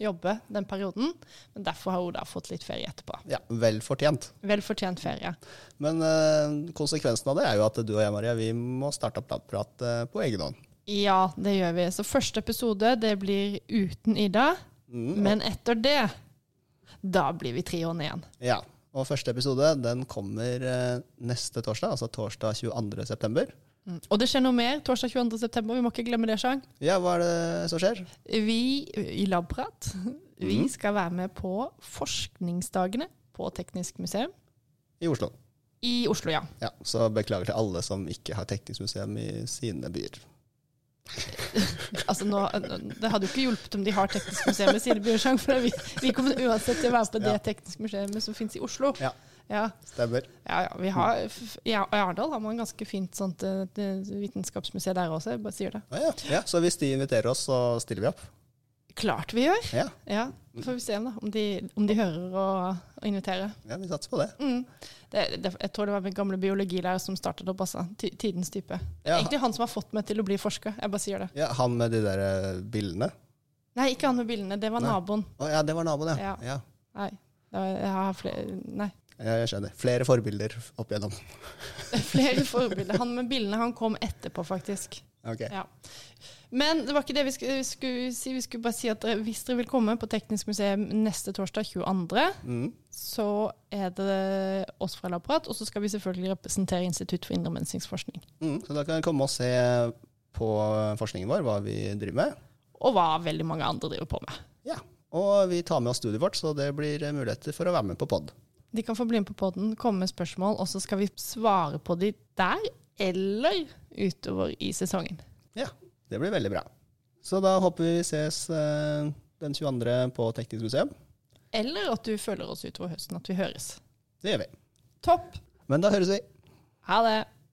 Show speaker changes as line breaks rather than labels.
jobbe den perioden. Men derfor har hun da fått litt ferie etterpå.
Ja, Vel fortjent.
Vel fortjent ferie.
Men eh, konsekvensen av det er jo at du og jeg, Maria, vi må starte opp platprat eh, på egen hånd.
Ja, det gjør vi. Så første episode det blir uten Ida. Men etter det, da blir vi tre år ned igjen.
Ja, Og første episode den kommer eh, neste torsdag, altså torsdag 22. september.
Mm. Og det skjer noe mer torsdag 22.9. Vi må ikke glemme det, Sjang.
Ja, hva er det som skjer?
Vi i Labprat vi
Mm.
skal være med på forskningsdagene på Teknisk museum
I Oslo.
i Oslo, ja.
Ja, Så beklager til alle som ikke har teknisk museum i sine byer.
Altså nå, det hadde jo ikke hjulpet om de har Teknisk museum i sine byer, Sjang, for vi, vi kommer uansett til å være på det
Ja.
teknisk museet som finnes i Oslo.
Ja.
Ja,
Stemmer.
ja, ja, vi har, f- I Arendal har man ganske fint sånt eh, det- vitenskapsmuseet der også, jeg bare sier det.
Ah, ja. ja, Så hvis de inviterer oss, så stiller vi opp.
Klart vi gjør!
Ja,
Ja, Får vi se om, da, om, de, om de hører og, og inviterer.
ja Vi satser på det.
Mm. Det, det, jeg tror det var min gamle biologilærer som startet opp, altså. Ty- Tidens type.
Ja.
Egentlig han som har fått meg til å bli forsker. Jeg bare sier det.
Ja, Han med de der eh, bildene.
Nei, ikke han med bildene. Det var
Nei.
naboen.
Å ja, det var naboen, ja.
Ja.
ja.
Nei. Det var, jeg har flere, nei.
Ja, Jeg skjønner. Flere forbilder opp igjennom.
flere forbilder. Han med bildene han kom etterpå, faktisk.
Ok.
Ja. Men det var ikke det vi skulle, vi skulle si. Vi skulle bare si at dere, hvis dere vil komme på Teknisk museum neste torsdag 22.,
Mm.
så er det oss fra Labprat, og så skal vi selvfølgelig representere Institutt for indremenneslingsforskning.
Mm. Så da kan dere komme og se på forskningen vår, hva vi driver med.
Og hva veldig mange andre driver på med.
Ja. Og vi tar med oss studiet vårt, så det blir eh, muligheter for å være med på pod.
De kan få bli med på podden, komme med spørsmål, og så skal vi svare på de der eller utover i sesongen.
Ja, det blir veldig bra. Så da håper vi ses eh, den 22. på Teknisk museum.
Eller at du følger oss utover høsten, at vi høres.
Det gjør vi.
Topp!
Men da høres vi.
Ha det!